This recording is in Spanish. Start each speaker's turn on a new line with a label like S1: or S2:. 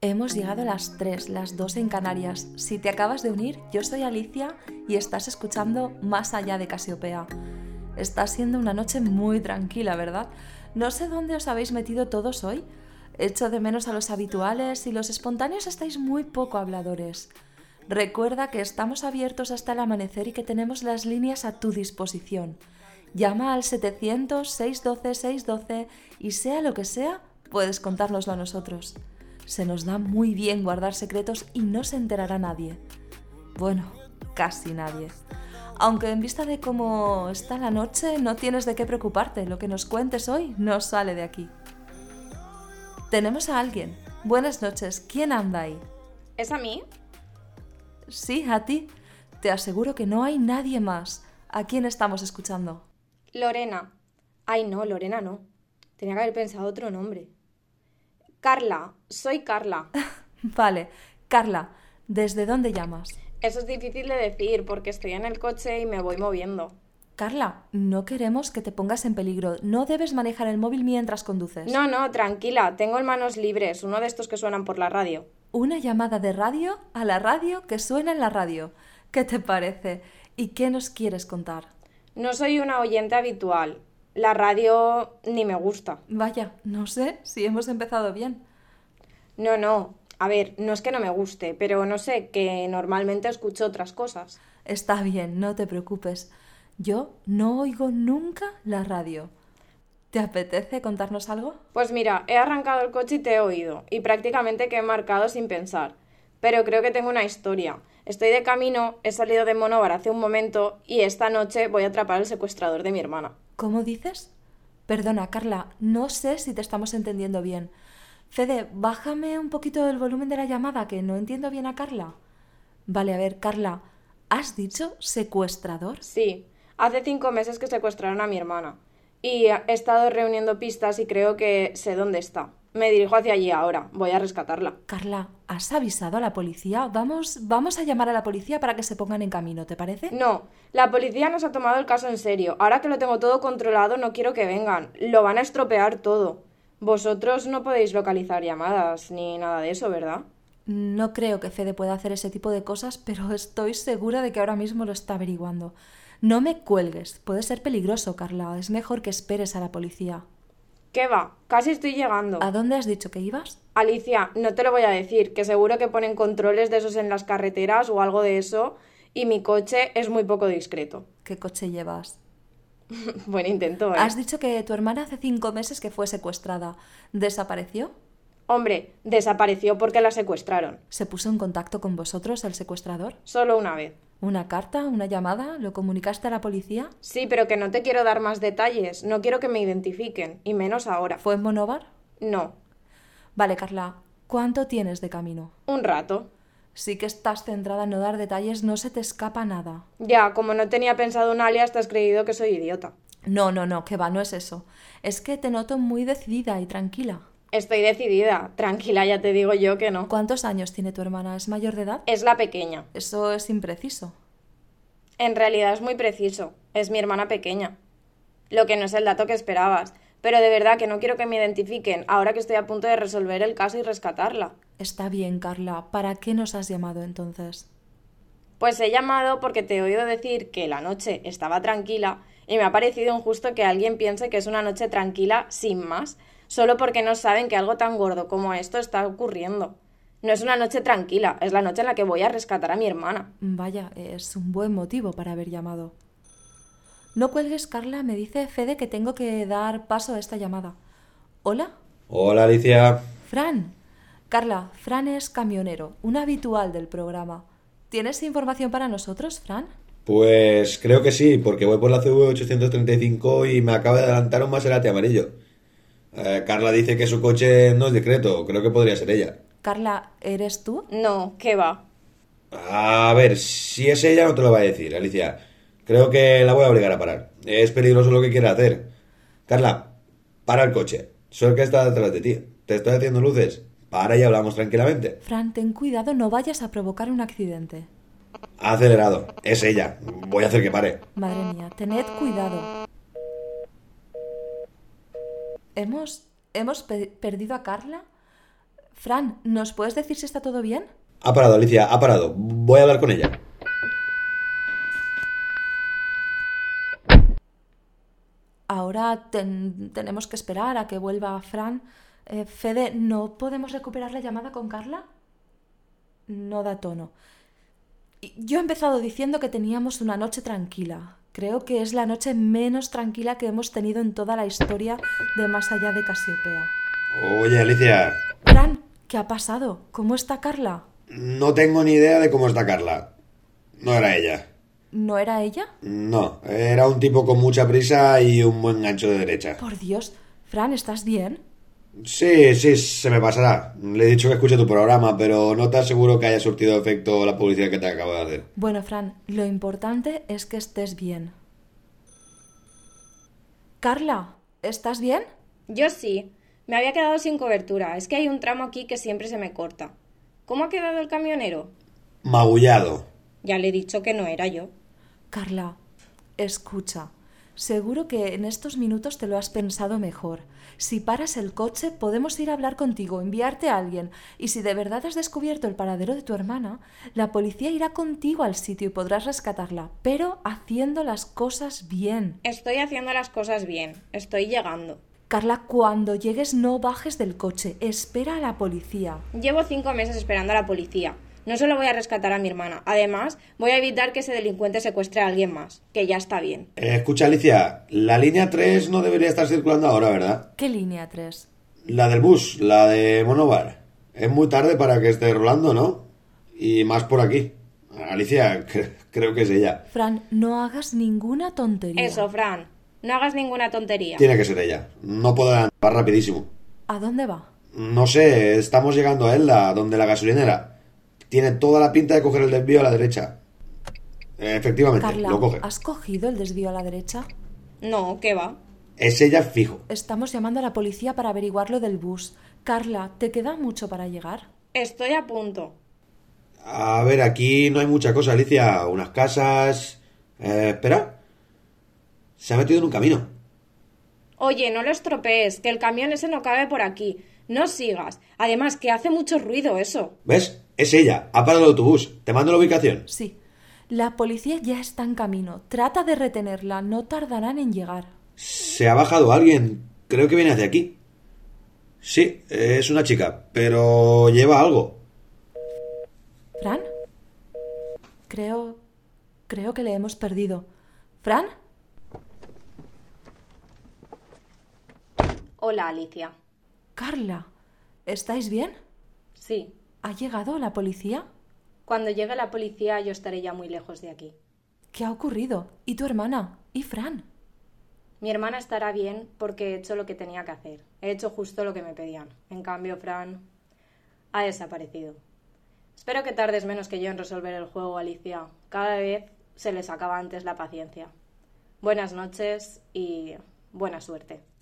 S1: Hemos llegado a las 3, las 2 en Canarias. Si te acabas de unir, yo soy Alicia y estás escuchando Más allá de Casiopea. Está siendo una noche muy tranquila, ¿verdad? No sé dónde os habéis metido todos hoy. Echo de menos a los habituales y los espontáneos estáis muy poco habladores. Recuerda que estamos abiertos hasta el amanecer y que tenemos las líneas a tu disposición. Llama al 700-612-612 y sea lo que sea, puedes contárnoslo a nosotros se nos da muy bien guardar secretos y no se enterará nadie. Bueno, casi nadie. Aunque en vista de cómo está la noche, no tienes de qué preocuparte, lo que nos cuentes hoy no sale de aquí. Tenemos a alguien. Buenas noches, ¿quién anda ahí?
S2: ¿Es a mí?
S1: Sí, a ti. Te aseguro que no hay nadie más. ¿A quién estamos escuchando?
S2: Lorena. Ay, no, Lorena no. Tenía que haber pensado otro nombre. Carla, soy Carla.
S1: vale, Carla, ¿desde dónde llamas?
S2: Eso es difícil de decir porque estoy en el coche y me voy moviendo.
S1: Carla, no queremos que te pongas en peligro. No debes manejar el móvil mientras conduces.
S2: No, no, tranquila, tengo en manos libres, uno de estos que suenan por la radio.
S1: Una llamada de radio a la radio que suena en la radio. ¿Qué te parece? ¿Y qué nos quieres contar?
S2: No soy una oyente habitual, la radio ni me gusta.
S1: Vaya, no sé si hemos empezado bien.
S2: No, no. A ver, no es que no me guste, pero no sé, que normalmente escucho otras cosas.
S1: Está bien, no te preocupes. Yo no oigo nunca la radio. ¿Te apetece contarnos algo?
S2: Pues mira, he arrancado el coche y te he oído, y prácticamente que he marcado sin pensar. Pero creo que tengo una historia. Estoy de camino, he salido de Monóvar hace un momento y esta noche voy a atrapar al secuestrador de mi hermana.
S1: ¿Cómo dices? Perdona, Carla, no sé si te estamos entendiendo bien. Fede, bájame un poquito el volumen de la llamada, que no entiendo bien a Carla. Vale, a ver, Carla, ¿has dicho secuestrador?
S2: Sí, hace cinco meses que secuestraron a mi hermana. Y he estado reuniendo pistas y creo que sé dónde está. Me dirijo hacia allí ahora, voy a rescatarla.
S1: Carla, ¿has avisado a la policía? Vamos, vamos a llamar a la policía para que se pongan en camino, ¿te parece?
S2: No, la policía nos ha tomado el caso en serio. Ahora que lo tengo todo controlado, no quiero que vengan. Lo van a estropear todo. Vosotros no podéis localizar llamadas ni nada de eso, ¿verdad?
S1: No creo que Fede pueda hacer ese tipo de cosas, pero estoy segura de que ahora mismo lo está averiguando. No me cuelgues, puede ser peligroso, Carla. Es mejor que esperes a la policía.
S2: ¿Qué va? Casi estoy llegando.
S1: ¿A dónde has dicho que ibas?
S2: Alicia, no te lo voy a decir, que seguro que ponen controles de esos en las carreteras o algo de eso, y mi coche es muy poco discreto.
S1: ¿Qué coche llevas?
S2: Buen intento, ¿eh?
S1: Has dicho que tu hermana hace cinco meses que fue secuestrada. ¿Desapareció?
S2: Hombre, desapareció porque la secuestraron.
S1: ¿Se puso en contacto con vosotros el secuestrador?
S2: Solo una vez.
S1: ¿Una carta? ¿Una llamada? ¿Lo comunicaste a la policía?
S2: Sí, pero que no te quiero dar más detalles. No quiero que me identifiquen, y menos ahora.
S1: ¿Fue en Monóvar?
S2: No,
S1: Vale, Carla, ¿cuánto tienes de camino?
S2: un rato.
S1: Sí que estás centrada en no dar detalles, no se te escapa nada.
S2: Ya, como no tenía pensado un alias, te has creído que soy idiota.
S1: No, no, no, que va, no es eso. Es que te noto muy decidida y tranquila.
S2: Estoy decidida. Tranquila, ya te digo yo que no.
S1: ¿Cuántos años tiene tu hermana? ¿Es mayor de edad?
S2: Es la pequeña.
S1: Eso es impreciso.
S2: En realidad es muy preciso. Es mi hermana pequeña. Lo que no es el dato que esperabas. Pero de verdad que no quiero que me identifiquen ahora que estoy a punto de resolver el caso y rescatarla.
S1: Está bien, Carla. ¿Para qué nos has llamado entonces?
S2: Pues he llamado porque te he oído decir que la noche estaba tranquila y me ha parecido injusto que alguien piense que es una noche tranquila sin más, solo porque no saben que algo tan gordo como esto está ocurriendo. No es una noche tranquila, es la noche en la que voy a rescatar a mi hermana.
S1: Vaya, es un buen motivo para haber llamado. No cuelgues, Carla. Me dice Fede que tengo que dar paso a esta llamada. ¿Hola?
S3: Hola Alicia.
S1: Fran. Carla, Fran es camionero, un habitual del programa. ¿Tienes información para nosotros, Fran?
S3: Pues creo que sí, porque voy por la CV835 y me acaba de adelantar un Maserati amarillo. Eh, Carla dice que su coche no es discreto, creo que podría ser ella.
S1: Carla, ¿eres tú?
S2: No, ¿qué va?
S3: A ver, si es ella no te lo va a decir, Alicia. Creo que la voy a obligar a parar. Es peligroso lo que quiera hacer. Carla, para el coche. Soy el que está detrás de ti. Te estoy haciendo luces. Para y hablamos tranquilamente.
S1: Fran, ten cuidado, no vayas a provocar un accidente.
S3: Ha acelerado. Es ella. Voy a hacer que pare.
S1: Madre mía, tened cuidado. ¿Hemos, hemos pe- perdido a Carla? Fran, ¿nos puedes decir si está todo bien?
S3: Ha parado, Alicia, ha parado. Voy a hablar con ella.
S1: Ahora ten- tenemos que esperar a que vuelva Fran. Eh, Fede, ¿no podemos recuperar la llamada con Carla? No da tono. Y Yo he empezado diciendo que teníamos una noche tranquila. Creo que es la noche menos tranquila que hemos tenido en toda la historia de Más allá de Casiopea.
S3: Oye, Alicia,
S1: Fran, ¿qué ha pasado? ¿Cómo está Carla?
S3: no tengo ni idea de cómo está Carla. No era ella.
S1: ¿No era ella?
S3: No, era un tipo con mucha prisa y un buen gancho de derecha.
S1: Por Dios, Fran, ¿estás bien?
S3: Sí, sí, se me pasará. Le he dicho que escuche tu programa, pero no te aseguro que haya surtido efecto la publicidad que te acabo de hacer.
S1: Bueno, Fran, lo importante es que estés bien. Carla, ¿estás bien?
S2: Yo sí. Me había quedado sin cobertura. Es que hay un tramo aquí que siempre se me corta. ¿Cómo ha quedado el camionero?
S3: Magullado.
S2: Ya le he dicho que no era yo.
S1: Carla, escucha. Seguro que en estos minutos te lo has pensado mejor. Si paras el coche, podemos ir a hablar contigo, enviarte a alguien. Y si de verdad has descubierto el paradero de tu hermana, la policía irá contigo al sitio y podrás rescatarla, pero haciendo las cosas bien.
S2: Estoy haciendo las cosas bien. Estoy llegando.
S1: Carla, cuando llegues no bajes del coche, espera a la policía.
S2: Llevo cinco meses esperando a la policía. No solo voy a rescatar a mi hermana, además voy a evitar que ese delincuente secuestre a alguien más, que ya está bien.
S3: Eh, escucha, Alicia, la línea 3 no debería estar circulando ahora, ¿verdad?
S1: ¿Qué línea 3?
S3: La del bus, la de Monobar. Es muy tarde para que esté rolando, ¿no? Y más por aquí. Alicia, cre- creo que es ella.
S1: Fran, no hagas ninguna tontería.
S2: Eso, Fran. No hagas ninguna tontería.
S3: Tiene que ser ella. No podrá va rapidísimo.
S1: ¿A dónde va?
S3: No sé, estamos llegando a Elda, donde la gasolinera. Tiene toda la pinta de coger el desvío a la derecha. Eh, Efectivamente,
S1: Carla,
S3: lo coge.
S1: ¿has cogido el desvío a la derecha?
S2: No, ¿qué va?
S3: Es ella fijo.
S1: Estamos llamando a la policía para averiguar lo del bus. Carla, ¿te queda mucho para llegar?
S2: Estoy a punto.
S3: A ver, aquí no hay mucha cosa, Alicia. Unas casas... Eh, espera. Se ha metido en un camino.
S2: Oye, no lo estropees, que el camión ese no cabe por aquí. No sigas. Además, que hace mucho ruido eso.
S3: ¿Ves? Es ella. Ha parado el autobús. Te mando la ubicación.
S1: Sí. La policía ya está en camino. Trata de retenerla. No tardarán en llegar.
S3: Se ha bajado alguien. Creo que viene hacia aquí. Sí, es una chica, pero lleva algo.
S1: ¿Fran? Creo... Creo que le hemos perdido. ¿Fran?
S2: Hola, Alicia.
S1: Carla, ¿estáis bien?
S2: Sí,
S1: ¿Ha llegado la policía?
S2: cuando llegue la policía yo estaré ya muy lejos de aquí.
S1: ¿Qué ha ocurrido? ¿Y tu hermana? ¿Y Fran?
S2: Mi hermana estará bien porque he hecho lo que tenía que hacer. He hecho justo lo que me pedían. En cambio, Fran ha desaparecido. Espero que tardes menos que yo en resolver el juego, Alicia. Cada vez se les acaba antes la paciencia. Buenas noches y buena suerte.